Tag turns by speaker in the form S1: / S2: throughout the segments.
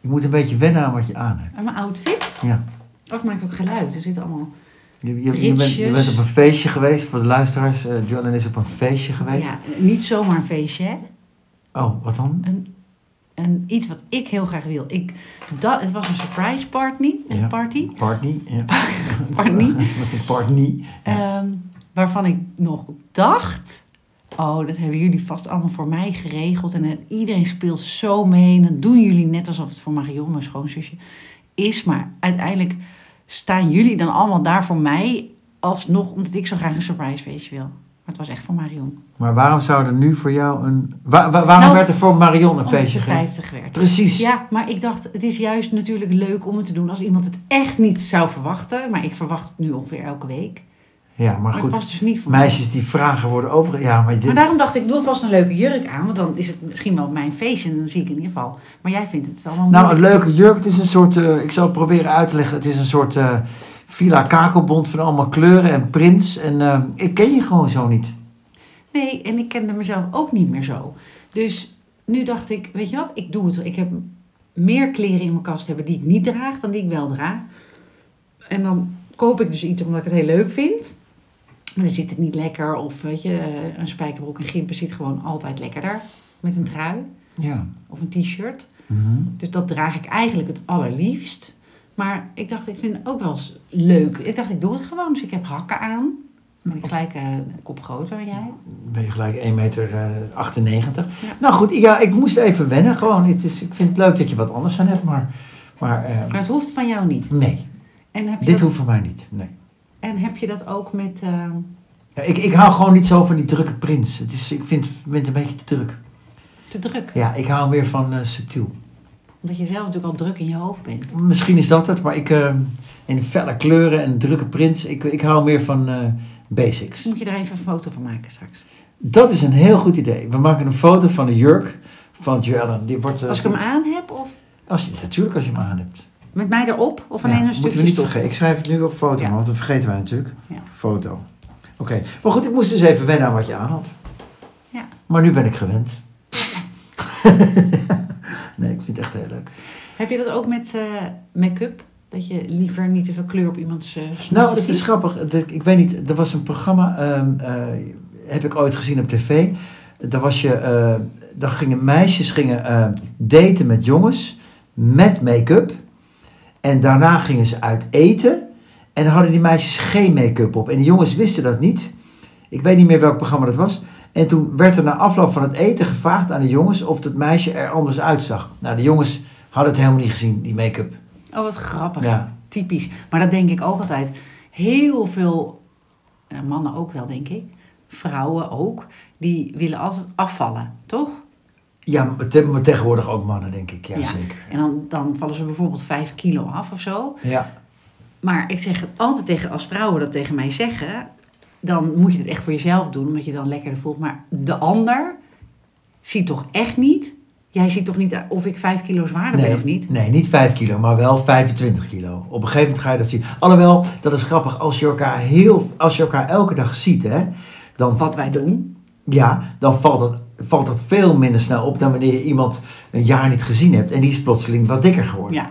S1: Je moet een beetje wennen aan wat je aan hebt.
S2: En mijn outfit.
S1: Ja.
S2: Oh, het maakt ook geluid. Er zit allemaal...
S1: Je, je, je, bent, je
S2: Ritjes.
S1: bent op een feestje geweest. Voor de luisteraars, eh Joellen is op een feestje geweest.
S2: Ja, niet zomaar een feestje, hè.
S1: Oh, wat dan?
S2: Een, een, iets wat ik heel graag wil. Ik, dat, het was een surprise party.
S1: Ja.
S2: party
S1: Partney. Ja.
S2: Partney.
S1: Dat is een partney.
S2: ehm, waarvan ik nog dacht... Oh, dat hebben jullie vast allemaal voor mij geregeld. En eh, iedereen speelt zo mee. En dat doen jullie net alsof het voor Marion, mijn schoonzusje, is. Maar uiteindelijk staan jullie dan allemaal daar voor mij. Alsnog, omdat ik zo graag een surprise feestje wil. Maar het was echt voor Marion.
S1: Maar waarom zou er nu voor jou een... Wa- wa- waarom
S2: Nou,
S1: werd er voor Marion een
S2: Omdat
S1: feestje
S2: ze
S1: gegeven?
S2: 50 werd.
S1: Precies.
S2: Ja, maar ik dacht, het is juist natuurlijk leuk om het te doen als iemand het echt niet zou verwachten. Maar ik verwacht het nu ongeveer elke week. Maar,
S1: Ja, maar
S2: het
S1: goed.
S2: was dus niet voor mij.
S1: Meisjes die vragen worden over... Ja, maar dit...
S2: Maar daarom dacht ik, doe vast een leuke jurk aan. Want dan is het misschien wel mijn feestje en dan zie ik in ieder geval. Maar jij vindt het allemaal
S1: Nou,
S2: moeilijk.
S1: een leuke jurk. Het is een soort, eh, ik zal het proberen uit te leggen. Het is een soort eh villa kakelbond van allemaal kleuren en prints. En eh, ik ken je gewoon zo niet.
S2: Nee, en ik kende mezelf ook niet meer zo. Dus nu dacht ik, weet je wat, ik doe het. wel. Ik heb meer kleren in mijn kast hebben die ik niet draag dan die ik wel draag. En dan koop ik dus iets omdat ik het heel leuk vind. Maar dan zit het niet lekker. Of weet je, eh, een spijkerbroek en gimpen zit gewoon altijd lekkerder. Met een trui
S1: Ja.
S2: of een t-shirt.
S1: Mhm.
S2: Dus dat draag ik eigenlijk het allerliefst. Maar ik dacht, ik vind het ook wel eens leuk. Ik dacht, ik doe het gewoon. Dus ik heb hakken aan. Ben ik gelijk eh, een kop groter dan jij.
S1: Ben je gelijk 1,98 meter. eh, 98. Nou goed, ja, ik moest even wennen gewoon. Het is, ik vind het leuk dat je wat anders aan hebt, maar, maar eh,
S2: Maar het hoeft van jou niet.
S1: nee.
S2: En heb je,
S1: Dit
S2: dat,
S1: hoeft voor mij niet. Nee.
S2: en heb je dat ook met. eh,
S1: Ja, ik, ik hou gewoon niet zo van die drukke prints. Het is, ik vind, vind het een beetje te druk.
S2: te druk?
S1: Ja, ik hou weer van eh, subtiel.
S2: Omdat je zelf natuurlijk al druk in je hoofd bent.
S1: Misschien is dat het, maar ik eh, in felle kleuren en drukke prints, ik, ik hou meer van eh, basics.
S2: Dus moet je er even een foto van maken straks.
S1: Dat is een heel goed idee. We maken een foto van de jurk van Joellen. Die wordt, eh,
S2: Als ik hem aan heb of
S1: als je, natuurlijk als je hem aan hebt.
S2: met mij erop of alleen
S1: Ja,
S2: een
S1: moeten
S2: stukje.
S1: we niet
S2: stof?
S1: vergeten. Ik schrijf het nu op foto,
S2: Ja.
S1: want dat vergeten wij natuurlijk.
S2: Ja.
S1: Foto. Oké, maar goed, ik moest dus even wennen aan wat je aan had.
S2: Ja.
S1: Maar nu ben ik gewend. nee, ik vind het echt heel leuk.
S2: Heb je dat ook met eh, make-up? Dat je liever niet te veel kleur op iemands eh snoetje
S1: Nou, dat is
S2: ziet?
S1: grappig. Dat- Ik weet niet, er was een programma, ehm, eh, heb ik ooit gezien op tv. Daar, was je, eh, daar gingen meisjes gingen, eh, daten met jongens, met make-up. En daarna gingen ze uit eten. En dan hadden die meisjes geen make-up op. En die jongens wisten dat niet. Ik weet niet meer welk programma dat was. En toen werd er na afloop van het eten gevraagd aan de jongens of dat meisje er anders uitzag. Nou, de jongens hadden het helemaal niet gezien, die make-up.
S2: Oh, wat grappig.
S1: Ja.
S2: Typisch. Maar dat denk ik ook altijd. Heel veel, eh, mannen ook wel denk ik, vrouwen ook, die willen altijd afvallen, toch?
S1: Ja, maar te- maar tegenwoordig ook mannen, denk ik. Ja,
S2: Ja.
S1: zeker.
S2: En dan, dan vallen ze bijvoorbeeld 5 kilo af of zo.
S1: Ja.
S2: Maar ik zeg het altijd tegen, als vrouwen dat tegen mij zeggen, dan moet je het echt voor jezelf doen, omdat je dan lekkerder voelt. Maar de ander ziet toch echt niet. Jij ziet toch niet of ik 5 kilo zwaarder ben of niet?
S1: nee, niet 5 kilo, maar wel 25 kilo. Op een gegeven moment ga je dat zien. Alhoewel, dat is grappig, als je elkaar, heel, als je elkaar elke dag ziet, hè, dan,
S2: Wat wij doen.
S1: ja, dan valt dat, valt dat veel minder snel op dan wanneer je iemand een jaar niet gezien hebt en die is plotseling wat dikker geworden.
S2: Ja.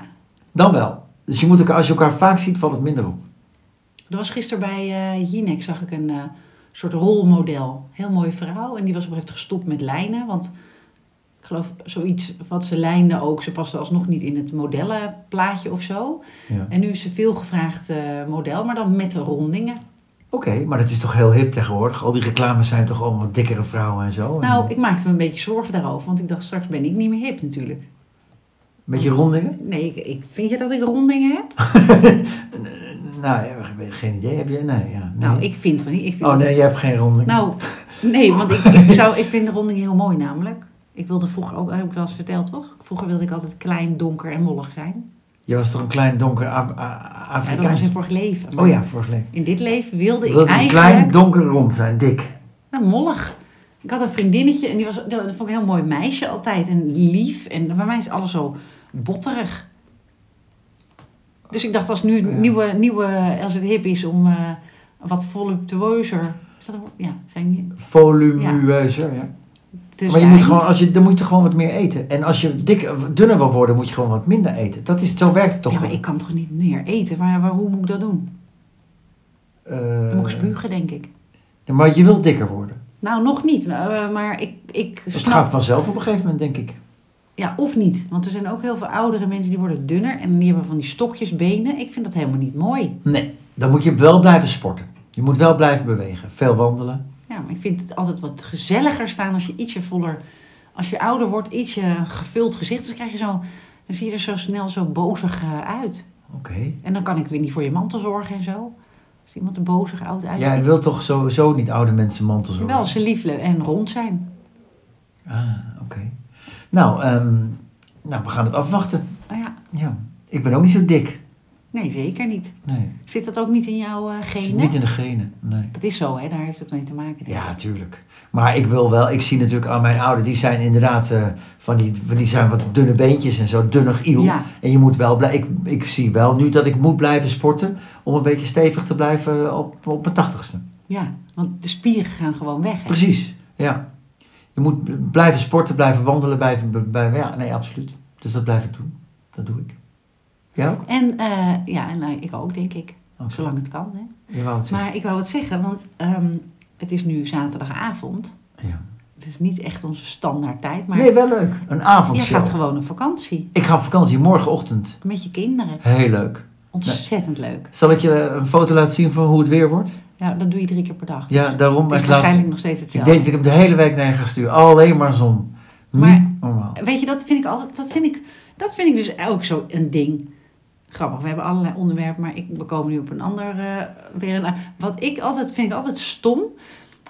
S1: Dan wel. Dus je moet elkaar, als je elkaar vaak ziet, valt het minder op.
S2: Er was gisteren bij eh Jinek zag ik een eh, soort rolmodel. Heel mooie vrouw. En die was op een gegeven moment gestopt met lijnen. Want ik geloof zoiets wat ze lijnde ook. Ze paste alsnog niet in het modellenplaatje of zo.
S1: Ja.
S2: En nu is ze veel gevraagd eh, model, maar dan met de rondingen.
S1: Oké, maar dat is toch heel hip tegenwoordig? Al die reclames zijn toch allemaal wat dikkere vrouwen en zo? En,
S2: Nou,
S1: eh,
S2: ik maakte me een beetje zorgen daarover. Want ik dacht, straks ben ik niet meer hip natuurlijk.
S1: Met je rondingen?
S2: Nee, ik, ik, vind je dat ik rondingen heb?
S1: Nou, ja, geen idee. Heb je? Nee, ja. Nee.
S2: Nou, ik vind van niet. Ik vind
S1: Oh nee, je hebt geen rondingen.
S2: Nou, nee, want ik, ik, zou, ik vind de ronding heel mooi namelijk. Ik wilde vroeger ook, heb ik wel eens verteld toch? Vroeger wilde ik altijd klein, donker en mollig zijn.
S1: Je was toch een klein donker Af- A-
S2: Ja, dat was
S1: Afrikaans?
S2: in vorig leven. maar
S1: oh ja, vorige leven.
S2: In dit leven
S1: Ik
S2: wilde ik
S1: wilde een
S2: eigenlijk...
S1: klein donker rond zijn, dik.
S2: Nou, mollig. Ik had een vriendinnetje en die was, dat vond ik een heel mooi meisje altijd. En lief. En bij mij is alles zo botterig. Dus ik dacht, als nu het
S1: Ja.
S2: nieuwe, nieuwe, als het hip is om eh, wat voluptueuzer... Is dat een woord? Ja, Dus zijn die...
S1: Volumueuzer, ja. Maar
S2: te
S1: je
S2: zijn.
S1: moet gewoon, als je, dan moet je gewoon wat meer eten. En als je dik, dunner wil worden, moet je gewoon wat minder eten. Dat is, zo werkt het toch?
S2: ja, maar
S1: wel?
S2: ik kan toch niet meer eten? Waar, waar, hoe moet ik dat doen?
S1: Eh,
S2: Dan moet ik spugen, denk ik.
S1: maar je wilt dikker worden.
S2: Nou, nog niet. eh, maar ik, ik
S1: Het
S2: snap...
S1: gaat vanzelf op een gegeven moment, denk ik.
S2: Ja, of niet. Want er zijn ook heel veel oudere mensen die worden dunner. En die hebben van die stokjesbenen. Ik vind dat helemaal niet mooi.
S1: Nee, dan moet je wel blijven sporten. Je moet wel blijven bewegen. Veel wandelen.
S2: Ja, maar ik vind het altijd wat gezelliger staan als je ietsje voller... Als je ouder wordt, ietsje gevuld gezicht. Dan krijg je zo... Dan zie je er zo snel zo bozig eh, uit.
S1: Oké.
S2: En dan kan ik weer niet voor je mantel zorgen en zo. Als iemand er bozig oud uit
S1: Jij wilt toch sowieso niet oude mensen mantel zorgen?
S2: Ah, Wel, als ze lief en rond zijn.
S1: Ah, oké. Nou, ehm, nou, we gaan het afwachten.
S2: Nou ja,
S1: Ja. Ik ben ook niet zo dik.
S2: nee, zeker niet.
S1: Nee.
S2: Zit dat ook niet in jouw eh
S1: Het zit
S2: genen?
S1: Niet in de genen. Nee.
S2: Dat is zo, hè? daar heeft het mee te maken. denk ik.
S1: Ja, tuurlijk. Maar ik wil wel, ik zie natuurlijk aan mijn ouders, die zijn inderdaad eh, van die, van die zijn wat dunne beentjes en zo, dunnig iel.
S2: Ja.
S1: En je moet wel blijven, ik, ik zie wel nu dat ik moet blijven sporten om een beetje stevig te blijven op, op mijn tachtigste.
S2: Ja, want de spieren gaan gewoon weg. Hè?
S1: Precies, ja. Je moet b- blijven sporten, blijven wandelen, blijven, bij, ja, nee, absoluut. Dus dat blijf ik doen. Dat doe ik. Jij ook?
S2: En eh, ja, en, nou, ik ook, denk ik.
S1: Oké.
S2: Zolang het kan. Hè?
S1: Je wou het zeggen.
S2: Maar ik wou wat zeggen, want ehm, het is nu zaterdagavond.
S1: Ja.
S2: Dus niet echt onze standaard tijd. Maar
S1: Nee, wel leuk. Een
S2: je
S1: avondshow.
S2: gaat gewoon op vakantie.
S1: Ik ga op vakantie morgenochtend.
S2: Met je kinderen.
S1: Heel leuk.
S2: Ontzettend leuk.
S1: Zal ik je een foto laten zien van hoe het weer wordt?
S2: Ja, dat doe je drie keer per dag.
S1: Ja, daarom.
S2: Het is
S1: ik, laat-
S2: waarschijnlijk nog steeds
S1: ik
S2: hetzelfde.
S1: denk dat ik hem de hele week naar je ga sturen. Alleen maar zon. Niet
S2: Maar-
S1: normaal.
S2: Weet je, dat vind ik altijd. Dat vind ik, dat vind ik dus ook zo een ding. Grappig, we hebben allerlei onderwerpen, maar ik, we komen nu op een ander eh, weer. Een, wat ik altijd vind ik altijd stom.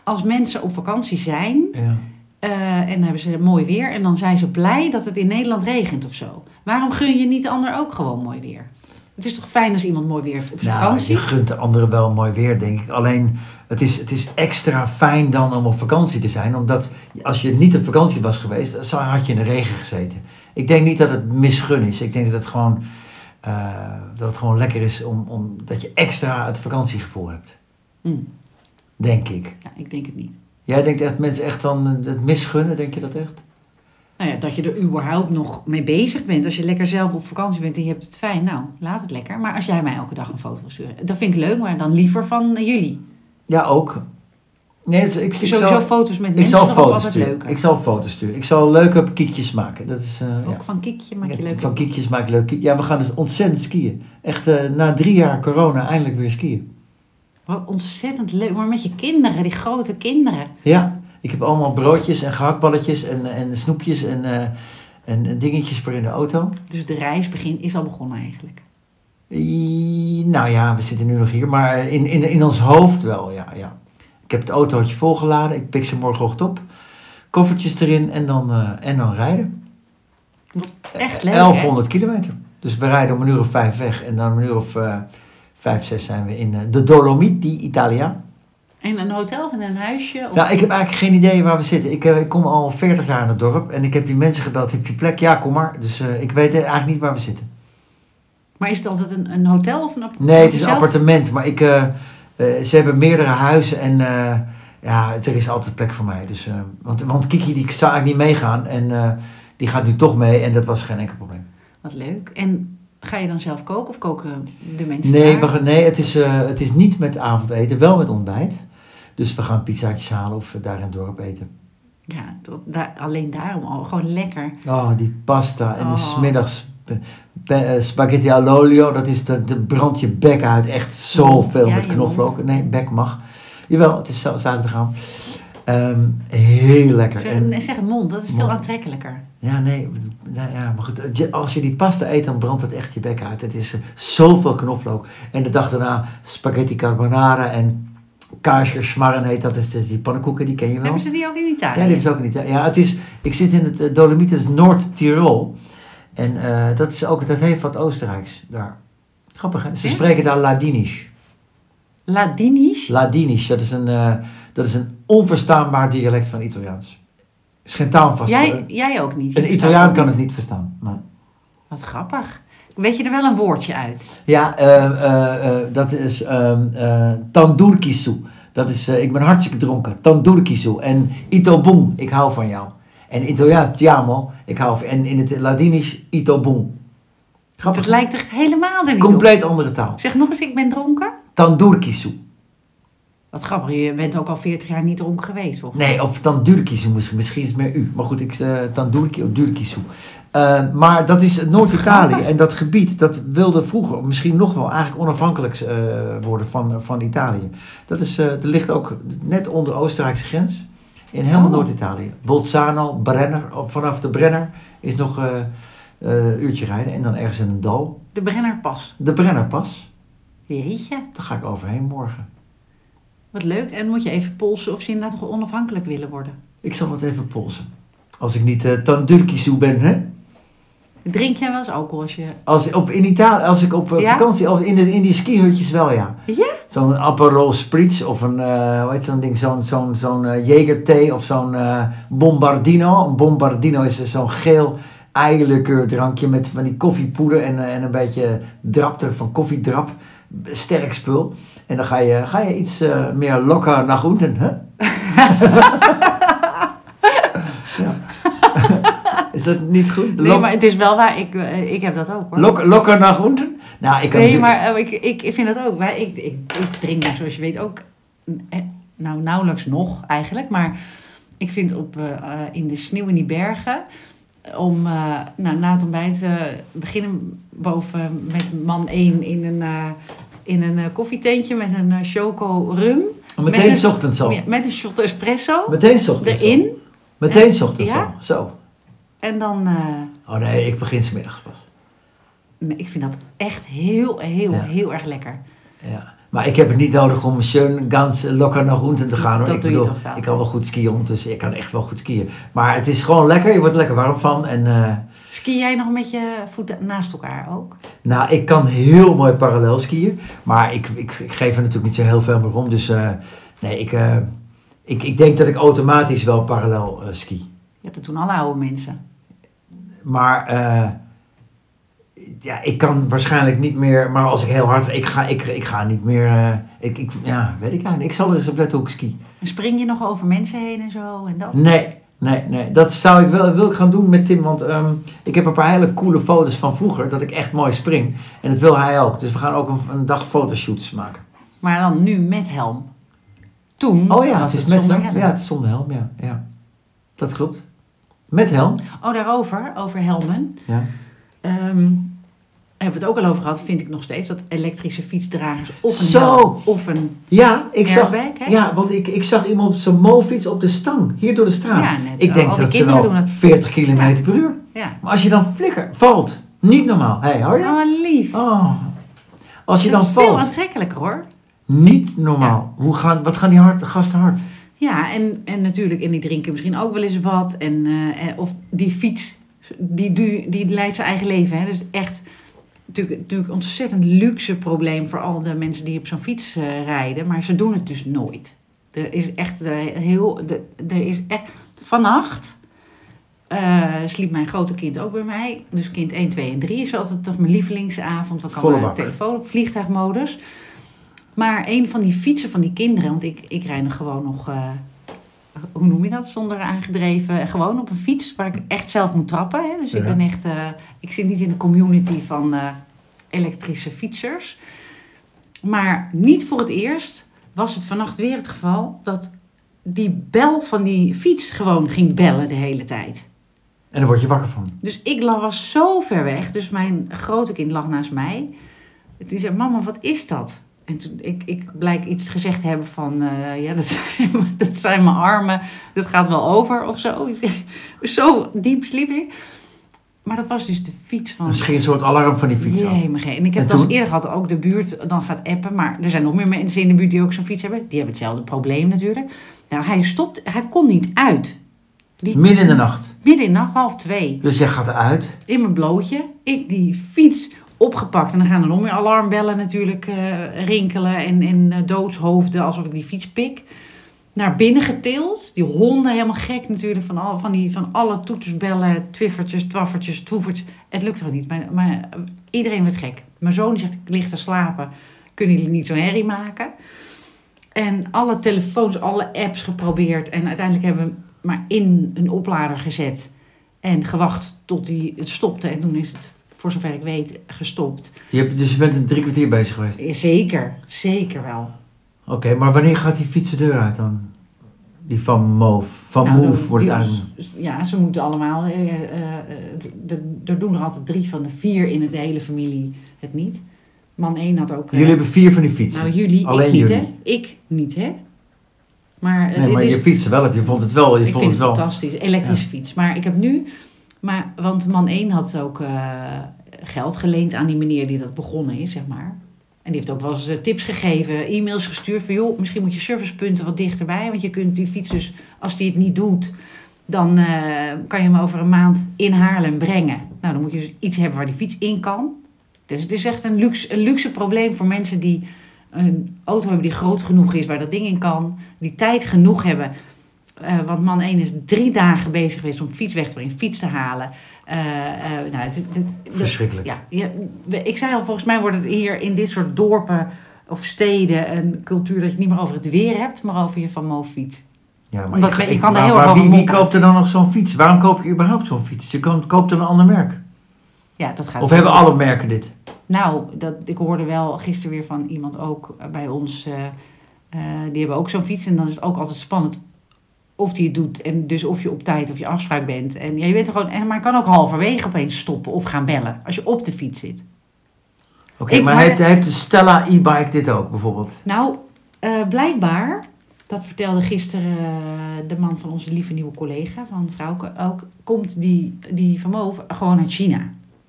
S2: Als mensen op vakantie zijn
S1: Ja.
S2: eh, en dan hebben ze mooi weer en dan zijn ze blij dat het in Nederland regent of zo. Waarom gun je niet de ander ook gewoon mooi weer? Het is toch fijn als iemand mooi weer heeft op zijn
S1: Nou,
S2: vakantie?
S1: je gunt de anderen wel mooi weer, denk ik. Alleen, het is, het is extra fijn dan om op vakantie te zijn. Omdat als je niet op vakantie was geweest, zou- had je in de regen gezeten. Ik denk niet dat het misgun is. Ik denk dat het gewoon, eh, dat het gewoon lekker is om, om, dat je extra het vakantiegevoel hebt.
S2: Hm,
S1: Denk ik.
S2: ja, ik denk het niet.
S1: Jij denkt echt mensen echt dan eh, het misgunnen, denk je dat echt?
S2: Nou ja, dat je er überhaupt nog mee bezig bent. Als je lekker zelf op vakantie bent en je hebt het fijn, nou, laat het lekker. Maar als jij mij elke dag een foto wil sturen, dat vind ik leuk, maar dan liever van eh, jullie.
S1: Ja, ook. Nee, het is- ik, ik
S2: Sowieso
S1: zal,
S2: foto's met
S1: ik
S2: mensen
S1: zal
S2: erop
S1: foto's
S2: altijd
S1: sturen.
S2: leuker. Oh.
S1: Ik zal foto's sturen. Ik zal leuke kiekjes maken. Dat is, eh, ja.
S2: Ook van Kikje maak je
S1: Ja,
S2: leuk.
S1: Van kiekjes maak ik leuk. kiek- Ja, we gaan dus ontzettend skiën. Echt eh, na drie jaar corona eindelijk weer skiën.
S2: Wat ontzettend leuk. Maar met je kinderen, die grote kinderen.
S1: Ja, ik heb allemaal broodjes en gehaktballetjes en, en snoepjes en, eh, en, en dingetjes voor in de auto.
S2: Dus de reis begin is al begonnen eigenlijk.
S1: I- nou ja, we zitten nu nog hier, maar in, in, in ons hoofd wel, ja, ja. Ik heb het autootje volgeladen, ik pik ze morgenochtend op. Koffertjes erin en dan, eh, en dan rijden.
S2: Wat echt leuk, hè?
S1: 1100 kilometer. Dus we rijden om een uur of vijf weg en dan om een uur of eh, vijf, zes zijn we in eh, de Dolomiti, Italia.
S2: Oh. En een hotel of in een huisje. Of...
S1: Nou, ik heb eigenlijk geen idee waar we zitten. Ik, eh, ik kom al 40 jaar in het dorp en ik heb die mensen gebeld. Heb je plek? Ja, kom maar. Dus eh, ik weet eigenlijk niet waar we zitten.
S2: Maar is het altijd een, een hotel of een appartement?
S1: Nee, het is een
S2: Zelf?
S1: appartement, maar ik, eh, eh, ze hebben meerdere huizen en eh, ja, het- er is altijd plek voor mij. Dus, eh, want, want Kiki die zou eigenlijk niet meegaan en eh, die gaat nu toch mee en dat was geen enkel probleem.
S2: Wat leuk. En ga je dan zelf koken of koken de mensen
S1: Nee,
S2: daar?
S1: we gaan, nee het, is, eh, het is niet met avondeten, wel met ontbijt. Dus we gaan pizzaatjes halen of eh, daar in het dorp eten.
S2: Ja, tot daar, alleen daarom al. Gewoon lekker.
S1: Oh, die pasta en de
S2: Oh.
S1: smiddags pe- pe- eh, spaghetti all'olio, dat is de, de brand je bek uit. Echt zoveel
S2: Ja,
S1: met
S2: je
S1: knoflook.
S2: mond.
S1: Nee, bek mag. Jawel, het is za- zaterdagavond. Ehm heel lekker.
S2: Zeg,
S1: En,
S2: nee, zeg het mond, dat is veel
S1: Mond.
S2: aantrekkelijker.
S1: ja, nee, nou ja, maar goed. je- Als je die pasta eet, dan brandt het echt je bek uit. Het is eh, zoveel knoflook. En de dag daarna spaghetti carbonara en kaarsje smarren heet dat. is dus die pannenkoeken, die ken je wel.
S2: Hebben ze die ook in Italië?
S1: Ja, die is ook niet. Ja, het is, ik zit in het eh, Dolomieten, het is Noord-Tirol. En eh, dat, is ook, dat heeft wat Oostenrijks daar. Grappig, hè? Ze
S2: Ja?
S1: spreken daar Ladinisch.
S2: Ladinisch?
S1: Ladinisch, dat is een, eh, dat is een onverstaanbaar dialect van Italiaans. Is geen taal vast.
S2: Jij, jij ook niet. Je
S1: een
S2: verstaat
S1: Italiaan
S2: ook
S1: kan
S2: niet.
S1: het niet verstaan. nee.
S2: Wat grappig. Weet je er wel een woordje uit?
S1: Ja, eh, eh, eh, dat is ehm eh tandoorkisu. Dat is, eh, ik ben hartstikke dronken. Tandoorkisu. En Ito Boom, ik hou van jou. En in Italiaans, Tiamo, ik hou van. En in het Ladinisch, Ito boom.
S2: Het
S1: Grappig.
S2: lijkt echt helemaal er niet op.
S1: Compleet andere taal.
S2: Zeg nog eens, ik ben dronken.
S1: Tandurkisu.
S2: Wat grappig, je bent ook al 40 jaar niet dronken geweest, toch?
S1: Nee, of Tandurkisu misschien. Misschien is het meer u. Maar goed, ik eh Tandurki of Durkisu. Eh, maar dat is Noord-Italië. En dat gebied, dat wilde vroeger of misschien nog wel eigenlijk onafhankelijk eh, worden van, van Italië. Dat is, eh dat ligt ook net onder Oostenrijkse grens. In helemaal
S2: Oh.
S1: Noord-Italië. Bolzano, Brenner. Of vanaf de Brenner is nog eh, eh, een uurtje rijden. En dan ergens in een dal.
S2: De Brennerpas.
S1: De Brennerpas.
S2: Jeetje,
S1: Daar ga ik overheen morgen.
S2: wat leuk. En moet je even polsen of ze inderdaad nog onafhankelijk willen worden.
S1: Ik zal het even polsen. Als ik niet eh Tandurkisu ben, hè?
S2: Drink jij wel eens alcohol als je...
S1: Als, op, in Italië, als ik op eh,
S2: Ja?
S1: vakantie, als in, de, in die skihutjes wel, ja.
S2: Ja?
S1: Zo'n Aperol Spritz of een, eh, hoe heet zo'n ding, zo'n zo'n zo'n eh, Jägerthee of zo'n eh, Bombardino. Een Bombardino is eh, zo'n geel eierlikeur drankje met van die koffiepoeder en, eh, en een beetje drap er van koffiedrap. Sterk spul. En dan ga je, ga je iets eh, meer lokker naar groenten, hè? ja. is dat niet goed?
S2: Nee,
S1: Lok-
S2: maar het is wel waar. Ik, eh, ik heb dat ook, hoor.
S1: Lok, lokker naar groenten? Nou, ik kan
S2: nee,
S1: natuurlijk-
S2: maar eh, ik, ik, ik vind dat ook. Maar ik, ik, ik drink, nou, zoals je weet, ook eh, nou, nauwelijks nog eigenlijk. Maar ik vind op, eh, eh, in de sneeuw in die bergen... om eh, nou, na het ontbijt eh, beginnen boven met man 1 in een, eh, in een eh, koffietentje... met een eh, choco rum.
S1: Meteen
S2: met
S1: s ochtends al.
S2: Ja, met een shot espresso
S1: Meteen s ochtends al.
S2: erin.
S1: Meteen s ochtends
S2: Ja?
S1: al. Zo.
S2: En dan... eh,
S1: Oh nee, ik begin 's middags pas.
S2: nee, ik vind dat echt heel, heel,
S1: Ja.
S2: heel erg lekker.
S1: Ja. Maar ik heb het niet nodig om schön ganz lokker naar groenten te gaan hoor.
S2: Dat
S1: ik
S2: doe je toch wel.
S1: ik kan wel goed skiën ondertussen. Ik kan echt wel goed skiën. Maar het is gewoon lekker. Je wordt er lekker warm van. En eh,
S2: Ski jij nog met je voeten naast elkaar ook?
S1: nou, ik kan heel mooi parallel skiën. Maar ik, ik, ik geef er natuurlijk niet zo heel veel meer om. Dus eh, nee, ik, eh, ik, ik denk dat ik automatisch wel parallel eh, ski.
S2: Ja, dat doen alle oude mensen.
S1: Maar eh, ja, ik kan waarschijnlijk niet meer. Maar als ik heel hard. Ik ga, ik, ik ga niet meer. eh, ik, ik, ja, weet ik eigenlijk. Ik zal er eens op letten hoe ik ski.
S2: En spring je nog over mensen heen en zo en dat?
S1: Nee, nee, nee. Dat zou ik wel wil ik gaan doen met Tim. Want ehm, ik heb een paar hele coole foto's van vroeger. Dat ik echt mooi spring. En dat wil hij ook. Dus we gaan ook een, een dag fotoshoots maken.
S2: Maar dan nu met helm. Toen
S1: Oh ja,
S2: was
S1: het is met
S2: zonder
S1: helm. Ja, het is zonder helm. Ja, ja. Dat klopt. Met helm.
S2: Oh, daarover, over helmen.
S1: Ja.
S2: Ehm hebben we het ook al over gehad, vind ik nog steeds, dat elektrische fietsdragers of een
S1: Zo.
S2: helm of een
S1: Ja, ik zag,
S2: airbag, hè?
S1: ja, want ik, ik zag iemand op zijn mofiets op de stang, hier door de straat.
S2: Ja, net.
S1: ik denk
S2: Al die
S1: dat ze
S2: kinderen
S1: wel
S2: doen dat.
S1: 40 km per uur.
S2: Ja.
S1: Maar als je dan flikker, valt, niet normaal. Hé, hey, hoor je?
S2: Nou, maar lief.
S1: Oh. Als je
S2: dat
S1: dan
S2: is veel
S1: valt,
S2: aantrekkelijker hoor.
S1: niet normaal. Hoe gaan, wat gaan die hard, gasten hard?
S2: Ja, en, en natuurlijk, en die drinken misschien ook wel eens wat. En, eh, eh, of die fiets, die, du- die leidt zijn eigen leven. Hè? Dus echt, natuurlijk, natuurlijk een ontzettend luxe probleem voor al de mensen die op zo'n fiets eh, rijden. Maar ze doen het dus nooit. Er is echt eh, heel, de- er is echt, vannacht eh, sliep mijn grote kind ook bij mij. Dus kind 1, 2 en 3 is altijd toch mijn lievelingsavond. Dan kan
S1: Volle
S2: mijn
S1: bak.
S2: telefoon op vliegtuigmodus. Maar een van die fietsen van die kinderen, want ik, ik rij nog gewoon nog, eh, hoe noem je dat, zonder aangedreven, gewoon op een fiets waar ik echt zelf moet trappen. Hè? Dus ik
S1: Ja.
S2: ben echt, eh, ik zit niet in de community van eh, elektrische fietsers. Maar niet voor het eerst was het vannacht weer het geval dat die bel van die fiets gewoon ging bellen de hele tijd.
S1: En daar word je wakker van.
S2: Dus ik lag, was zo ver weg. Dus mijn grote kind lag naast mij. En Toen zei mama, wat is dat? En toen, ik, ik blijk iets gezegd te hebben van... eh, ja, dat zijn, mijn- dat zijn mijn armen. Dat gaat wel over of zo. zo diep sliep ik. Maar dat was dus de fiets van...
S1: Dan schiet een soort alarm van die fiets af.
S2: Jee, maar geen. En ik heb
S1: En
S2: dat
S1: toen?
S2: eens eerder gehad, ook de buurt dan gaat appen. Maar er zijn nog meer mensen in de buurt die ook zo'n fiets hebben. Die hebben hetzelfde probleem natuurlijk. Nou, hij stopt, hij kon niet uit.
S1: Midden in de nacht.
S2: Midden in de nacht, half twee.
S1: Dus jij gaat eruit.
S2: in mijn blootje. Ik die fiets opgepakt. En dan gaan er nog meer alarmbellen natuurlijk eh, rinkelen. En, en eh, doodshoofden alsof ik die fiets pik. Naar binnen getild. Die honden helemaal gek natuurlijk. Van, al, van, die, van alle toetersbellen, twiffertjes, twaffertjes, toevertjes. Het lukt gewoon niet. Mijn, mijn, iedereen werd gek. Mijn zoon zegt, ik lig te slapen. Kunnen jullie niet zo'n herrie maken? En alle telefoons, alle apps geprobeerd. En uiteindelijk hebben we maar in een oplader gezet en gewacht tot die het stopte. En toen is het, voor zover ik weet, gestopt.
S1: Je hebt, dus je bent een drie kwartier bezig geweest.
S2: Ja, Zeker, zeker wel.
S1: Oké, maar wanneer gaat die fiets de deur uit dan? Die van Move. Van
S2: Nou,
S1: Move
S2: dan-
S1: wordt het
S2: die-
S1: eigenlijk.
S2: Ja, ze moeten allemaal. eh, eh, eh, d- d- Er doen er altijd drie van de vier in het- de hele familie het niet. Man één had ook. eh,
S1: Jullie hebben vier van die fietsen.
S2: Nou, jullie,
S1: Alleen
S2: ik niet,
S1: jullie.
S2: hè? Ik niet, hè? Maar, eh,
S1: nee,
S2: dit
S1: maar
S2: is,
S1: je fietsen wel op. Je vond het wel. Je
S2: ik
S1: vond
S2: vind het
S1: het wel.
S2: fantastisch. Elektrische fiets. Maar ik heb nu... Maar, want man 1 had ook eh, geld geleend aan die meneer die dat begonnen is, zeg maar. En die heeft ook wel eens eh, tips gegeven, e-mails gestuurd van... joh, misschien moet je servicepunten wat dichterbij. Want je kunt die fiets dus, als die het niet doet... dan eh, kan je hem over een maand in Haarlem brengen. Nou, dan moet je dus iets hebben waar die fiets in kan. Dus het is echt een luxe, een luxe probleem voor mensen die een auto hebben die groot genoeg is... waar dat ding in kan, die tijd genoeg hebben... Eh, want man 1 is drie dagen bezig geweest om fiets weg te brengen, fiets te halen. Eh, eh, nou, het, het- het-
S1: Verschrikkelijk.
S2: ja, ja, we- ik zei al, volgens mij wordt het hier in dit soort dorpen of steden een cultuur dat je het niet meer over het weer hebt, maar over je van Mo fiets.
S1: Ja, maar
S2: Omdat
S1: ik-
S2: men- je
S1: ik-
S2: kan er
S1: maar-
S2: heel
S1: maar
S2: erg
S1: wie,
S2: over
S1: wie
S2: mopperen.
S1: koopt er dan nog zo'n fiets? Waarom koop je überhaupt zo'n fiets? Je kan, koopt dan een ander merk.
S2: Ja, dat gaat.
S1: Of hebben alle merken dit?
S2: Nou, dat, ik hoorde wel gisteren weer van iemand ook eh, bij ons. eh, eh, die hebben ook zo'n fiets en dan is het ook altijd spannend of die het doet. En dus of je op tijd of je afspraak bent. En ja, je bent er gewoon, en, maar je kan ook halverwege opeens stoppen of gaan bellen als je op de fiets zit.
S1: Oké,
S2: Ik-
S1: maar
S2: maar-
S1: heeft, heeft de Stella e-bike dit ook bijvoorbeeld?
S2: Nou, eh, blijkbaar, dat vertelde gisteren eh, de man van onze lieve nieuwe collega, van Vrouwke ook, komt die, die van boven gewoon uit China.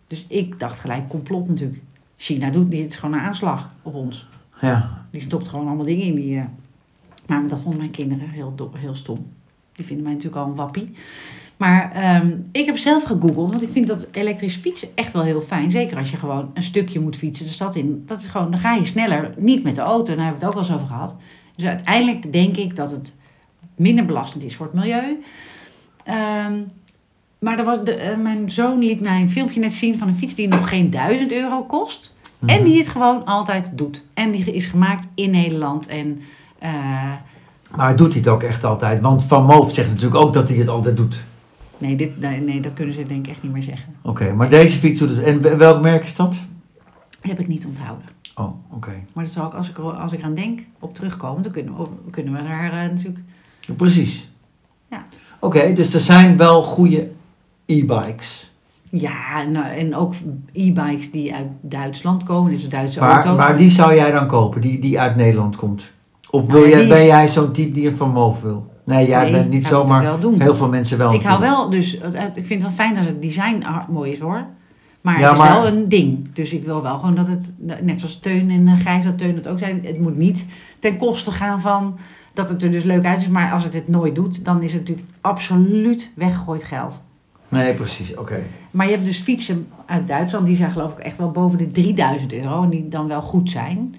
S2: Dus ik dacht gelijk, complot natuurlijk. China doet dit, het is gewoon een aanslag op ons.
S1: Ja.
S2: Die stopt gewoon allemaal dingen in die... eh, Maar dat vonden mijn kinderen heel, do- heel stom. Die vinden mij natuurlijk al een wappie. Maar ehm, ik heb zelf gegoogeld, want ik vind dat elektrisch fietsen echt wel heel fijn. Zeker als je gewoon een stukje moet fietsen de stad in. Dat is gewoon, dan ga je sneller, niet met de auto. Daar hebben we het ook wel eens over gehad. Dus uiteindelijk denk ik dat het minder belastend is voor het milieu. Ehm, maar er was de, eh, mijn zoon liet mij een filmpje net zien van een fiets die nog geen 1000 euro kost.
S1: Mhm.
S2: En die het gewoon altijd doet. En die is gemaakt in Nederland. En eh,
S1: Maar doet hij het ook echt altijd? Want Van Moof zegt natuurlijk ook dat hij het altijd doet.
S2: nee, dit, nee, nee, dat kunnen ze denk ik echt niet meer zeggen.
S1: Oké, maar deze fiets doet het. En welk merk is dat?
S2: Heb ik niet onthouden.
S1: Oh, oké.
S2: Maar dat zal ik, als ik, er- als ik aan denk, op terugkomen. Dan kunnen we, kunnen we daar eh, natuurlijk...
S1: Precies.
S2: Ja.
S1: Oké, dus er zijn wel goede e-bikes.
S2: Ja, nou, en ook e-bikes die uit Duitsland komen. Dus een Duitse
S1: Maar,
S2: auto.
S1: maar die zou jij dan kopen, die, die uit Nederland komt? Of wil
S2: Nou,
S1: jij,
S2: die is-
S1: ben jij zo'n type die een Van Moof wil? Nee, jij
S2: Nee,
S1: bent niet
S2: hij moet het
S1: zomaar...
S2: wel doen.
S1: Heel veel mensen wel.
S2: Ik hou
S1: natuurlijk.
S2: wel, dus het- het- ik vind het wel fijn dat het design ah, mooi is hoor. Maar
S1: Ja,
S2: het is
S1: maar-
S2: wel een ding. Dus ik wil wel gewoon dat het, net zoals Teun en eh, Gijs dat Teun het ook zijn, het moet niet ten koste gaan van dat het er dus leuk uitziet. Maar als het het nooit doet, dan is het natuurlijk absoluut weggegooid geld.
S1: Nee, precies. Oké.
S2: Maar je hebt dus fietsen uit Duitsland, die zijn geloof ik echt wel boven de 3000 euro. En die dan wel goed zijn.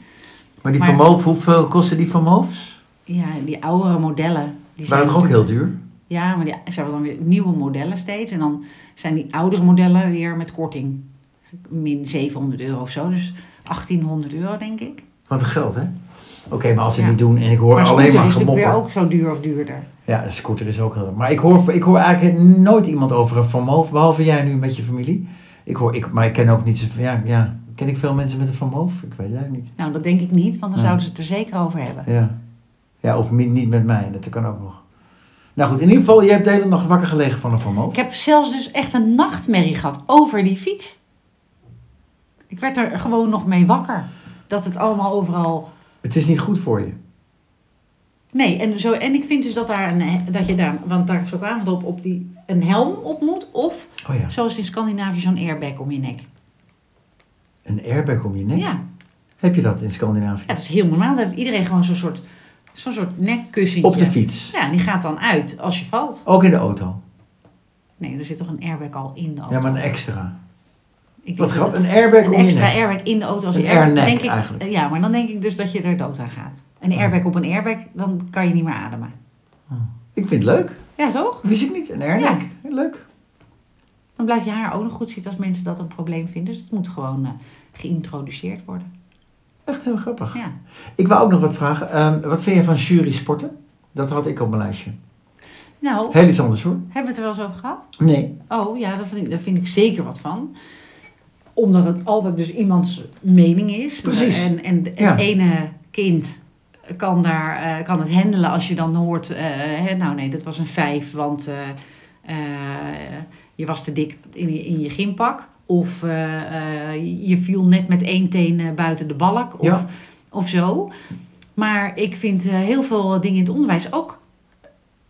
S1: Maar die
S2: Maar-
S1: Van Moof, hoeveel kosten die Van Moofs?
S2: Ja, die oudere modellen. Die
S1: Waren toch ook
S2: natuurlijk-
S1: heel duur?
S2: Ja, maar die, ze hebben dan weer nieuwe modellen steeds. En dan zijn die oudere modellen weer met korting. Min 700 euro of zo. Dus 1800 euro, denk ik.
S1: Wat een geld, hè? Oké, maar als ze het
S2: Ja.
S1: niet doen en ik hoor
S2: scooter
S1: alleen maar
S2: is natuurlijk dus weer
S1: gemopper.
S2: ook zo duur of duurder.
S1: Ja, een scooter is ook heel... Maar ik hoor, ik hoor eigenlijk nooit iemand over een Van Moof, behalve jij nu met je familie. Ik hoor, ik, maar ik ken ook niet zo... Ja, ja, ken ik veel mensen met een Van Moof? Ik weet het eigenlijk niet.
S2: Nou, dat denk ik niet, want dan
S1: Ja.
S2: zouden ze het er zeker over hebben.
S1: Ja, ja of mi- niet met mij, dat kan ook nog. Nou goed, in ieder geval, je hebt de hele nacht wakker gelegen van een Van Moof.
S2: Ik heb zelfs dus echt een nachtmerrie gehad over die fiets. Ik werd er gewoon nog mee wakker. Dat het allemaal overal
S1: Het is niet goed voor je.
S2: Nee, en, zo, en ik vind dus dat, daar een, dat je daar, want daar is ook avond op, op die, een helm op moet. Of
S1: Oh ja,
S2: zoals in Scandinavië zo'n airbag om je nek.
S1: een airbag om je nek.
S2: Ja,
S1: Heb je dat in Scandinavië?
S2: ja, dat is heel normaal. Dan heeft iedereen gewoon zo'n soort, zo'n soort nekkussentje.
S1: Op de fiets.
S2: Ja, en die gaat dan uit als je valt.
S1: Ook in de auto.
S2: Nee, er zit toch een airbag al in de auto.
S1: Ja, maar een extra.
S2: Ik denk
S1: Wat
S2: dat
S1: grappig, een airbag
S2: Een
S1: om je
S2: extra
S1: nek.
S2: airbag in de auto. Als
S1: Een
S2: airbag,
S1: airneck
S2: denk ik,
S1: eigenlijk. Oh.
S2: Ja, maar dan denk ik dus dat je er dood aan gaat. Een airbag op een airbag, dan kan je niet meer ademen.
S1: Ik vind het leuk.
S2: Ja, toch?
S1: Wist ik niet, een airneck. Leuk.
S2: Dan blijft je haar ook nog goed zitten als mensen dat een probleem vinden. Dus het moet gewoon eh, geïntroduceerd worden.
S1: Echt heel grappig.
S2: Ja.
S1: Ik wou ook nog wat vragen. Ehm, wat vind je van jury sporten? Dat had ik op mijn lijstje.
S2: Nou,
S1: Heel iets anders hoor.
S2: hebben we het er wel eens over gehad?
S1: Nee.
S2: Oh ja, daar vind ik, daar vind ik zeker wat van. Omdat het altijd dus iemands mening is.
S1: Precies.
S2: En, en het
S1: Ja.
S2: ene kind kan, daar, eh, kan het handelen als je dan hoort... eh, hè, nou nee, dat was een vijf, want eh, eh, je was te dik in je, in je gympak. Of eh, eh, je viel net met één teen eh, buiten de balk. Of,
S1: Ja.
S2: of zo. Maar ik vind eh, heel veel dingen in het onderwijs ook...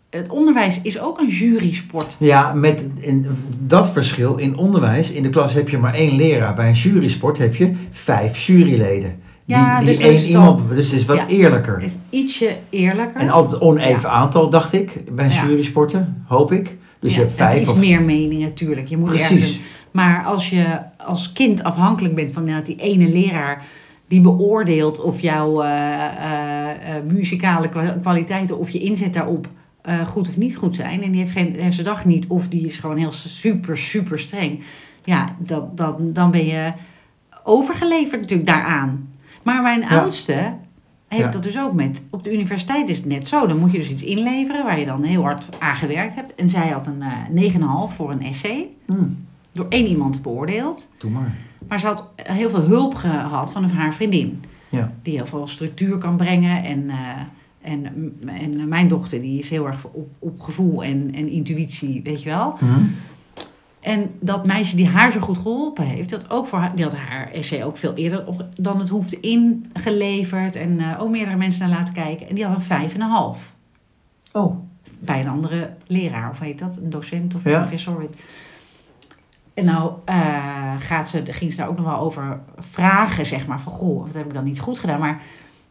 S2: Het onderwijs is ook een jury-sport.
S1: Ja, met in, dat verschil in onderwijs. In de klas heb je maar één leraar. Bij een jurysport heb je vijf juryleden.
S2: Ja,
S1: die die
S2: dus dan is
S1: één
S2: het
S1: iemand. Dus het is wat
S2: Ja.
S1: eerlijker.
S2: is ietsje eerlijker.
S1: En altijd oneven aantal, dacht ik, bij
S2: Ja.
S1: jurysporten, hoop ik. Dus je
S2: Ja,
S1: hebt
S2: en
S1: vijf
S2: iets
S1: of...
S2: meer meningen natuurlijk. Je moet ergens.
S1: Precies.
S2: Maar als je als kind afhankelijk bent van inderdaad die ene leraar die beoordeelt of jouw eh, eh, eh, muzikale kwa- kwaliteiten of je inzet daarop eh, goed of niet goed zijn. En die heeft geen heeft zijn dag niet of die is gewoon heel super, super streng. Ja, dat, dat, dan ben je overgeleverd natuurlijk daaraan. Maar mijn
S1: Ja.
S2: oudste heeft
S1: Ja.
S2: dat dus ook met. Op de universiteit is het net zo. Dan moet je dus iets inleveren waar je dan heel hard aan gewerkt hebt. En zij had een eh 9,5 voor een essay.
S1: Hmm,
S2: Door één iemand beoordeeld.
S1: doe maar.
S2: Maar ze had heel veel hulp gehad van haar vriendin.
S1: Ja.
S2: Die heel veel structuur kan brengen. En, eh, en, en mijn dochter die is heel erg op, op gevoel en, en intuïtie, weet je wel.
S1: Mhm.
S2: En dat meisje die haar zo goed geholpen heeft, dat ook voor haar, die had haar essay ook veel eerder op, dan het hoefde ingeleverd. En eh, ook meerdere mensen naar laten kijken. En die had een vijf en een half.
S1: Oh,
S2: Bij een andere leraar, of heet dat? Een docent of
S1: Ja.
S2: professor. weet- En nou eh, gaat ze, ging ze daar ook nog wel over vragen, zeg maar. Van, goh, wat heb ik dan niet goed gedaan? Maar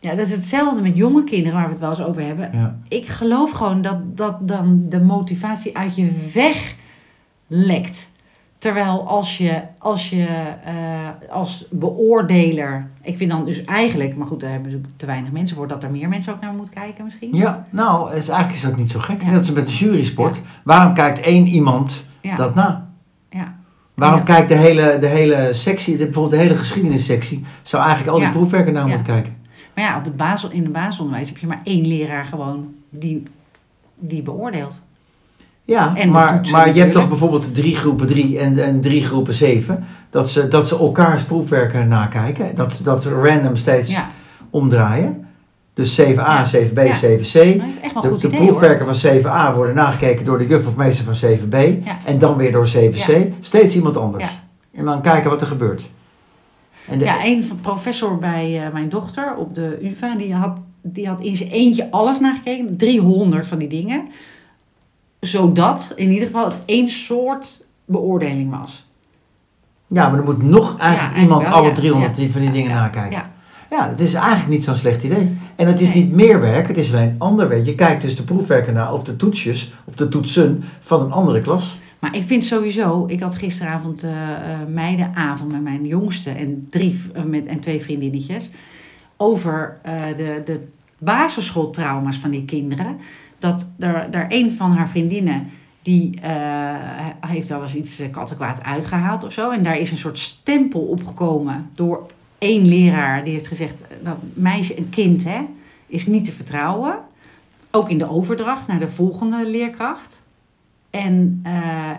S2: ja, dat is hetzelfde met jonge kinderen, waar we het wel eens over hebben
S1: ja.
S2: ik geloof gewoon dat, dat dan de motivatie uit je weg lekt. Terwijl als je, als, je eh, als beoordeler. Ik vind dan dus eigenlijk. Maar goed, daar hebben we natuurlijk te weinig mensen voor. Dat er meer mensen ook naar moeten kijken, misschien.
S1: Ja, nou, is, eigenlijk is dat niet zo gek.
S2: Ja.
S1: Net als met de jurysport. Waarom kijkt één iemand
S2: Ja,
S1: dat na?
S2: ja.
S1: Waarom
S2: Ja.
S1: kijkt de hele, de hele sectie, de, bijvoorbeeld de hele geschiedenissectie, zou eigenlijk al die
S2: Ja.
S1: proefwerken naar
S2: Ja.
S1: moeten kijken?
S2: Maar ja, op het basel, in het basisonderwijs heb je maar één leraar gewoon die, die beoordeelt.
S1: Ja,
S2: En de
S1: maar,
S2: toetsen
S1: maar je hebt
S2: natuurlijk.
S1: toch bijvoorbeeld drie groepen drie en, en drie groepen zeven. Dat ze, dat ze elkaars proefwerken nakijken. Dat, dat ze random steeds
S2: Ja,
S1: omdraaien. Dus 7a,
S2: Ja.
S1: 7b,
S2: Ja.
S1: 7c.
S2: dat is echt wel een
S1: De,
S2: goed
S1: de
S2: idee hoor.
S1: proefwerken van 7a worden nagekeken door de juf of meester van 7b.
S2: Ja.
S1: En dan weer door 7c. Steeds iemand anders.
S2: Ja.
S1: En dan kijken wat er gebeurt. En de,
S2: Ja, een van- professor bij eh, mijn dochter op de UvA, die had, die had in zijn eentje alles nagekeken. 300 van die dingen. Zodat in ieder geval het één soort beoordeling was.
S1: ja, maar er moet nog eigenlijk
S2: eigenlijk
S1: iemand
S2: wel,
S1: alle
S2: ja.
S1: 300
S2: Ja.
S1: die van die dingen
S2: Ja,
S1: nakijken.
S2: ja.
S1: Ja, het is eigenlijk niet zo'n slecht idee. En het is
S2: Nee.
S1: niet meer werk, het is alleen ander werk. Je kijkt dus de proefwerken na of de toetsjes of de toetsen van een andere klas.
S2: Maar ik vind sowieso, ik had gisteravond eh, eh, meidenavond met mijn jongste en, drie, v- eh, met, en twee vriendinnetjes. Over eh, de, de basisschooltrauma's van die kinderen. Dat er, daar een van haar vriendinnen, die eh, he- heeft wel eens iets eh, kattenkwaad uitgehaald of zo. En daar is een soort stempel opgekomen door één leraar. Die heeft gezegd, eh, dat meisje, een kind hè, is niet te vertrouwen. Ook in de overdracht naar de volgende leerkracht. En, eh,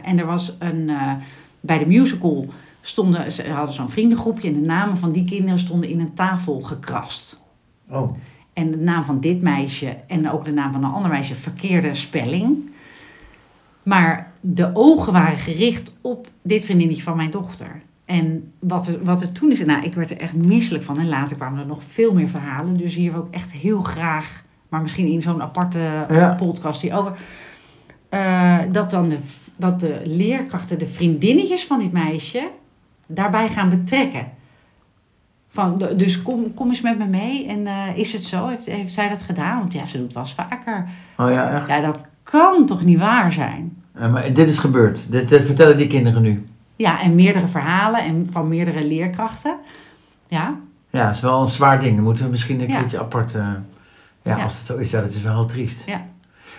S2: en er was een. eh, bij de musical stonden, ze hadden zo'n vriendengroepje en de namen van die kinderen stonden in een tafel gekrast.
S1: Oh,
S2: En de naam van dit meisje en ook de naam van een ander meisje, verkeerde spelling. Maar de ogen waren gericht op dit vriendinnetje van mijn dochter. En wat er, wat er toen is, nou, ik werd er echt misselijk van. En later kwamen er nog veel meer verhalen. Dus hier wil ik echt heel graag, maar misschien in zo'n aparte
S1: Ja.
S2: podcast die over. eh, dat dan de, dat de leerkrachten, de vriendinnetjes van dit meisje, daarbij gaan betrekken. Van, de- dus kom, kom eens met me mee. En eh, is het zo? Heeft, heeft zij dat gedaan? Want ja, ze doet wel eens vaker.
S1: oh ja, echt.
S2: Ja, dat kan toch niet waar zijn?
S1: Eh, maar dit is gebeurd. Dit, dit vertellen die kinderen nu.
S2: Ja, en meerdere verhalen en van meerdere leerkrachten. Ja,
S1: Ja, het is wel een zwaar ding. Dan moeten we misschien een
S2: Ja.
S1: keertje apart. eh, ja,
S2: Ja.
S1: als het zo is, ja, dat is wel heel triest.
S2: Ja.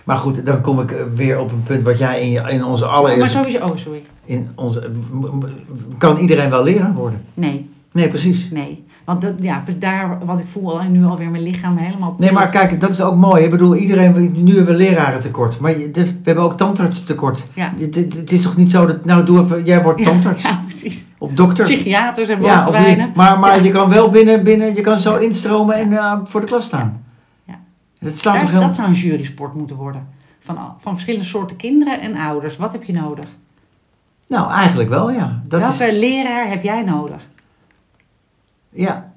S1: Maar goed, dan kom ik eh, weer op een punt wat jij in, je, in onze
S2: maar
S1: allereerste.
S2: sowieso... Oh, sorry.
S1: in onze, m- m- kan iedereen wel leraar worden?
S2: Nee,
S1: Nee, precies.
S2: Nee. Want dat, ja, daar, wat ik voel al, nu alweer mijn lichaam helemaal...
S1: Nee, maar kijk, dat is ook mooi. Ik bedoel, iedereen, nu hebben we leraren tekort. Maar je- de- we hebben ook tandarts tekort.
S2: Ja.
S1: Het, het- het is toch niet zo dat, nou doe even, jij wordt
S2: Ja,
S1: tandarts.
S2: Ja, precies.
S1: Of dokter.
S2: Psychiaters en
S1: Ja, of
S2: ja,
S1: je, maar maar je kan wel binnen, binnen, je kan zo instromen en eh, voor de klas staan.
S2: Ja.
S1: Dat slaat
S2: Daar-
S1: toch heel...
S2: Dat zou een jurysport moeten worden. Van, al- van verschillende soorten kinderen en ouders. Wat heb je nodig?
S1: Nou, eigenlijk wel, ja. Dat
S2: Welke
S1: is...
S2: leraar heb jij nodig?
S1: Ja,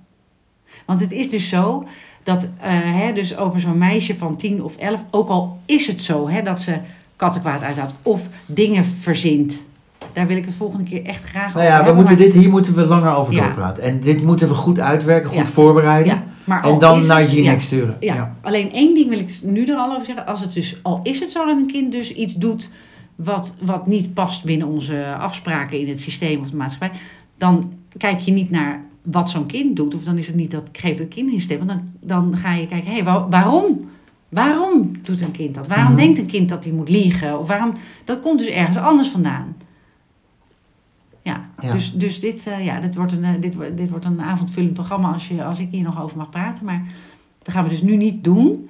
S2: Want het is dus zo dat eh, hè, dus over zo'n meisje van 10 of 11, ook al is het zo hè, dat ze kattenkwaad uithaalt of dingen verzint. Daar wil ik het volgende keer echt graag
S1: nou ja, we moeten dit, hier moeten we langer over
S2: Ja.
S1: doorpraten. En dit moeten we goed uitwerken, goed
S2: Ja.
S1: voorbereiden.
S2: Ja, maar al
S1: En dan
S2: is
S1: naar
S2: het-
S1: Jinek
S2: ja.
S1: sturen.
S2: Ja, alleen één ding wil ik nu er al over zeggen. Als het dus, al is het zo dat een kind dus iets doet wat, wat niet past binnen onze afspraken in het systeem of de maatschappij, dan kijk je niet naar wat zo'n kind doet. Of dan is het niet dat geeft een kind in stem. want Dan, dan ga je kijken, hé, wa- waarom? Waarom doet een kind dat? Waarom
S1: Mhm.
S2: denkt een kind dat hij moet liegen? Of waarom? Dat komt dus ergens anders vandaan. Ja,
S1: Ja.
S2: dus, dus dit, eh, ja, dit, wordt een, eh, dit, wo- dit wordt een avondvullend programma als, je, als ik hier nog over mag praten. Maar dat gaan we dus nu niet doen.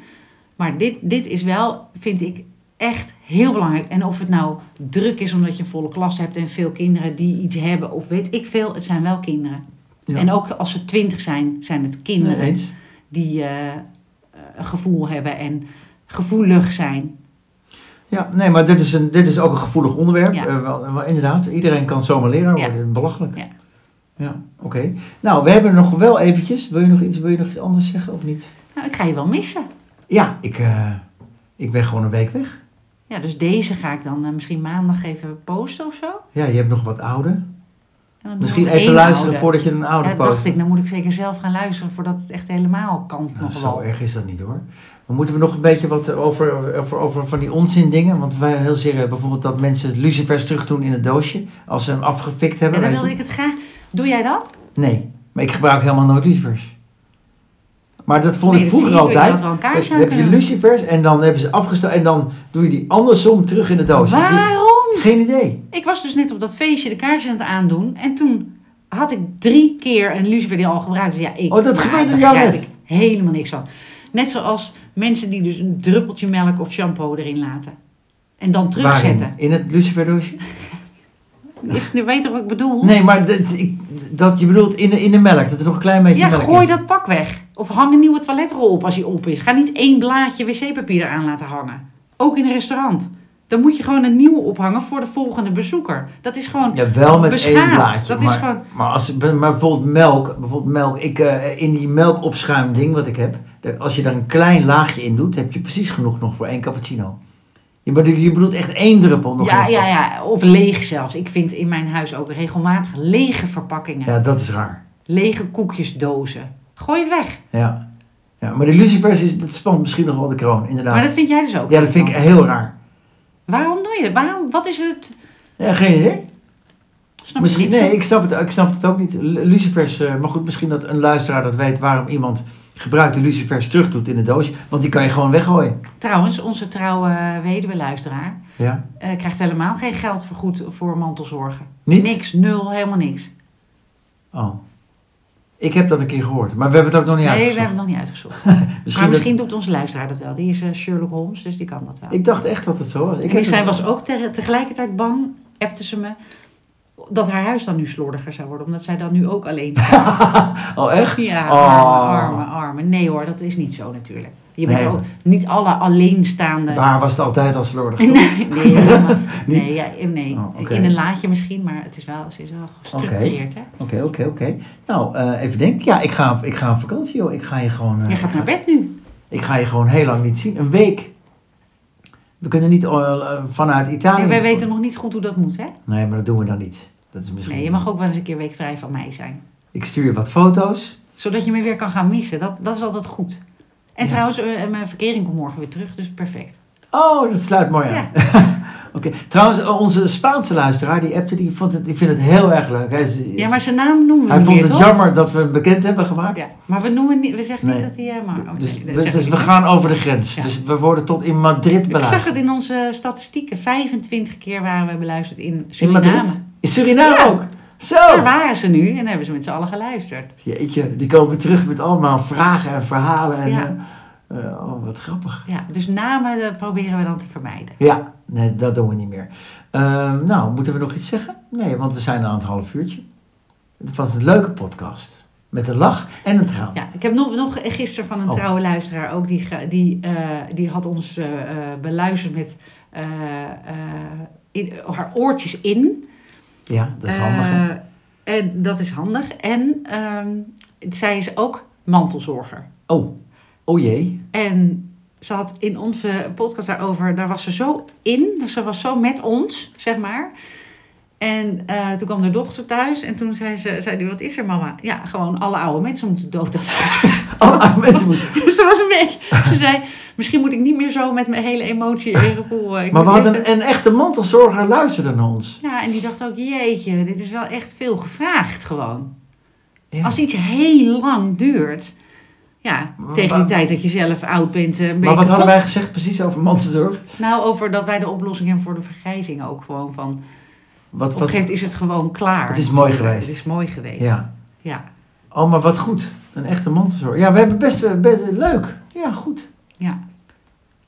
S2: Maar dit, dit is wel, vind ik, echt heel belangrijk. En of het nou druk is omdat je een volle klas hebt en veel kinderen die iets hebben of weet ik veel, het zijn wel kinderen.
S1: Ja.
S2: En ook als ze twintig zijn, zijn het
S1: Nee,
S2: kinderen
S1: eens.
S2: die eh, eh, een gevoel hebben en gevoelig zijn.
S1: Ja, nee, maar dit is, een, dit is ook een gevoelig onderwerp.
S2: Ja.
S1: Eh, wel, wel, inderdaad, iedereen kan zomaar leraar
S2: Ja.
S1: worden. Belachelijk.
S2: Ja.
S1: Ja, oké. Nou, we hebben nog wel eventjes. Wil je nog iets, wil je nog iets anders zeggen of niet?
S2: Nou, ik ga je wel missen.
S1: Ja, ik, eh, ik ben gewoon een week weg.
S2: Ja, dus deze ga ik dan eh, misschien maandag even posten of zo. En
S1: Ja, je hebt nog wat oude.
S2: dan doen
S1: Misschien
S2: we
S1: even
S2: één
S1: luisteren
S2: oude.
S1: voordat je een oude
S2: Ja,
S1: post.
S2: dacht ik, dan moet ik zeker zelf gaan luisteren voordat het echt helemaal kan
S1: Nou,
S2: nog
S1: zo
S2: wel.
S1: erg is dat niet hoor. Maar moeten we nog een beetje wat over, over, over van die onzin dingen? Want wij heel serieus, bijvoorbeeld dat mensen lucifers terug doen in het doosje. Als ze hem afgefikt
S2: Ja,
S1: hebben.
S2: dan
S1: weet je.
S2: wilde ik het graag. Doe jij dat?
S1: Nee, maar ik gebruik helemaal nooit lucifers. Maar dat vond
S2: Nee,
S1: ik
S2: dat
S1: vroeger
S2: zie je, je
S1: altijd.
S2: had wel een kaarsje
S1: Dan
S2: aan
S1: heb je
S2: kunnen
S1: lucifers en dan hebben ze afgestoken en dan doe je die andersom terug in de doos.
S2: Waarom?
S1: Die- Geen idee.
S2: Ik was dus net op dat feestje de kaarsen aan het aandoen. En toen had ik drie keer een lucifer die al gebruikt. was. Ja, ik,
S1: Oh, dat
S2: maar
S1: gebeurde
S2: daar
S1: jou
S2: begrijp
S1: net?
S2: ik helemaal niks van. Net zoals mensen die dus een druppeltje melk of shampoo erin laten. En dan terugzetten.
S1: Waarin? In het luciferdoosje?
S2: Is, nu weet je toch wat ik bedoel?
S1: Nee, maar dat, ik, dat je bedoelt in de, in de melk, dat er nog een klein beetje
S2: ja,
S1: melk
S2: gooi
S1: is.
S2: dat pak weg. Of hang een nieuwe toiletrol op als die op is. Ga niet één blaadje wc-papier eraan laten hangen. Ook in een restaurant. Dan moet je gewoon een nieuwe ophangen voor de volgende bezoeker. Dat is gewoon
S1: Ja, wel met één
S2: beschaafd.
S1: blaadje.
S2: Dat
S1: maar,
S2: is gewoon...
S1: maar, als, maar bijvoorbeeld melk, bijvoorbeeld melk ik, eh, in die melkopschuimding wat ik heb, dat- als je daar een klein laagje in doet, heb je precies genoeg nog voor één cappuccino. Je bedoelt, je bedoelt echt één druppel nog. in
S2: Ja,
S1: het
S2: ja,
S1: pak.
S2: ja, of leeg zelfs. Ik vind in mijn huis ook regelmatig lege verpakkingen.
S1: ja, dat is raar.
S2: Lege koekjesdozen. Gooi het weg.
S1: Ja. ja maar de lucifers, is, dat spant misschien nog wel de kroon, inderdaad.
S2: Maar dat vind jij dus ook.
S1: ja, dat vind ik heel raar.
S2: Waarom doe je dat? Waarom, wat is het?
S1: Ja, geen idee.
S2: Snap
S1: Misschien,
S2: je niet?
S1: nee, ik snap, het, ik snap het ook niet. Lu- Lucifers, eh, maar goed, misschien dat een luisteraar dat weet waarom iemand gebruikte lucifers terug doet in de doosje. Want die kan je gewoon weggooien.
S2: Trouwens, onze trouwe weduwe-luisteraar
S1: Ja.
S2: eh, krijgt helemaal geen geld vergoed voor mantelzorgen.
S1: Niet?
S2: Niks, nul, helemaal niks.
S1: Oh. Ik heb dat een keer gehoord, maar we hebben het ook nog niet
S2: nee, we hebben
S1: uitgezocht.
S2: het nog niet uitgezocht.
S1: Misschien
S2: maar
S1: dat-
S2: misschien doet onze luisteraar dat wel. Die is eh, Sherlock Holmes, dus die kan dat wel.
S1: Ik dacht echt dat het zo was. Ik
S2: en
S1: heb
S2: zij
S1: het-
S2: was ook te- tegelijkertijd bang, appte ze me, dat haar huis dan nu slordiger zou worden. Omdat zij dan nu ook alleen zou
S1: Oh, echt?
S2: Ja,
S1: Oh.
S2: arme, arme, arme. Nee hoor, dat is niet zo natuurlijk. Je bent
S1: Nee.
S2: ook niet alle alleenstaande...
S1: Waar was het altijd al slordig?
S2: Nee, nee, helemaal- nee, ja, eh, nee.
S1: Oh, oké.
S2: in een laadje misschien, maar het is wel, ze is wel gestructureerd. Hè?
S1: Oké, oké, oké. Nou, eh, even denken. Ja, ik ga, op- ik ga op vakantie, joh. Ik ga je gewoon... eh,
S2: Je
S1: ik
S2: gaat
S1: ga-
S2: naar bed nu.
S1: Ik ga je gewoon heel lang niet zien. Een week. We kunnen niet eh, vanuit Italië.
S2: En wij weten nog niet goed hoe dat moet, hè?
S1: Nee, maar dat doen we dan niet. Dat is misschien.
S2: Nee, je mag ook wel eens een keer weekvrij van mij zijn.
S1: Ik stuur je wat foto's.
S2: Zodat je me weer kan gaan missen. Dat, dat is altijd goed. En
S1: Ja.
S2: trouwens, eh, mijn verkering komt morgen weer terug, dus perfect.
S1: Oh, dat sluit mooi aan.
S2: Ja.
S1: Oké. Trouwens, eh, onze Spaanse luisteraar, die appte, die, vond het, die vindt het heel erg leuk. Hij, is-
S2: Ja, maar zijn naam noemen we
S1: hij
S2: niet
S1: vond
S2: meer,
S1: het
S2: toch?
S1: jammer dat we hem bekend hebben gemaakt.
S2: Ja, maar we, noemen niet, we zeggen
S1: Nee.
S2: niet dat hij... eh, maar, oh, nee,
S1: Dus,
S2: dat
S1: we,
S2: zeg ik
S1: dus
S2: niet.
S1: we gaan over de grens.
S2: Ja.
S1: Dus we worden tot in Madrid
S2: Ik zag
S1: beluisterd.
S2: het in onze statistieken. 25 keer waren we beluisterd in
S1: In Oh.
S2: Suriname.
S1: Madrid? In Suriname
S2: Ja.
S1: ook? Zo!
S2: Daar waren ze nu en hebben ze met z'n allen geluisterd.
S1: Jeetje, die komen terug met allemaal vragen en verhalen. En,
S2: Ja.
S1: eh, eh, oh, wat grappig.
S2: Ja, dus namen eh, proberen we dan te vermijden.
S1: Ja, nee, dat doen we niet meer. Ehm, nou, moeten we nog iets zeggen? Nee, want we zijn aan het half uurtje. Het was een leuke podcast. Met een lach en een traan.
S2: Ja, ik heb nog, nog gisteren van een
S1: Oh.
S2: trouwe luisteraar ook, die, ge- die, eh, die had ons eh, eh, beluisterd met eh, eh, in- haar oortjes in.
S1: Ja, dat is handig. hè?
S2: Eh, en dat is handig. En ehm, zij is ook mantelzorger.
S1: Oh, oh jee.
S2: En ze had in onze podcast daarover, daar was ze zo in, dus ze was zo met ons, zeg maar. En eh, toen kwam de dochter thuis en toen zei ze, zei die, wat is er mama? Ja, gewoon alle oude mensen moeten dood. Dat
S1: Oh, mensen moeten...
S2: dus dat was een beetje, ze zei, misschien moet ik niet meer zo met mijn hele emotie en gevoel. eh, ik
S1: Maar we
S2: moet eerst
S1: hadden een echte mantelzorger luisterde naar ons.
S2: Ja, en die dacht ook, jeetje, dit is wel echt veel gevraagd gewoon.
S1: Ja.
S2: Als iets heel lang duurt, ja,
S1: Maar
S2: tegen die
S1: waar-
S2: tijd dat je zelf oud bent, eh, ben je
S1: Maar wat hadden
S2: kapot.
S1: wij gezegd precies over mantelzorg?
S2: Nou, over dat wij de oplossing hebben voor de vergrijzing ook gewoon van... Op
S1: Wat,
S2: een gegeven
S1: wat...
S2: moment is het gewoon klaar.
S1: Het is mooi
S2: natuurlijk.
S1: geweest.
S2: Het is mooi geweest. Ja.
S1: Ja. Oh, maar wat goed. Een echte mantelzorger. Ja, we hebben best, eh, best leuk. Ja, goed.
S2: Ja.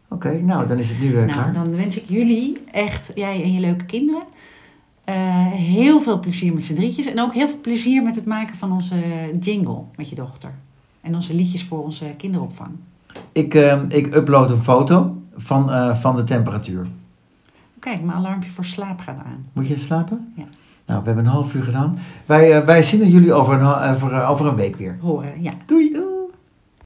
S1: Oké, nou, dan is het nu weer
S2: Nou,
S1: klaar.
S2: dan wens ik jullie echt, jij en je leuke kinderen, eh, heel veel plezier met z'n drietjes. En ook heel veel plezier met het maken van onze jingle met je dochter. En onze liedjes voor onze kinderopvang.
S1: Ik, eh, ik upload een foto van, eh, van de temperatuur.
S2: Kijk, mijn alarmpje voor slaap gaat aan.
S1: Moet je slapen?
S2: Ja.
S1: Nou, we hebben een half uur gedaan. Wij, eh, wij zien jullie over een, ha- over, eh, over een week weer.
S2: Horen, ja.
S1: Doei!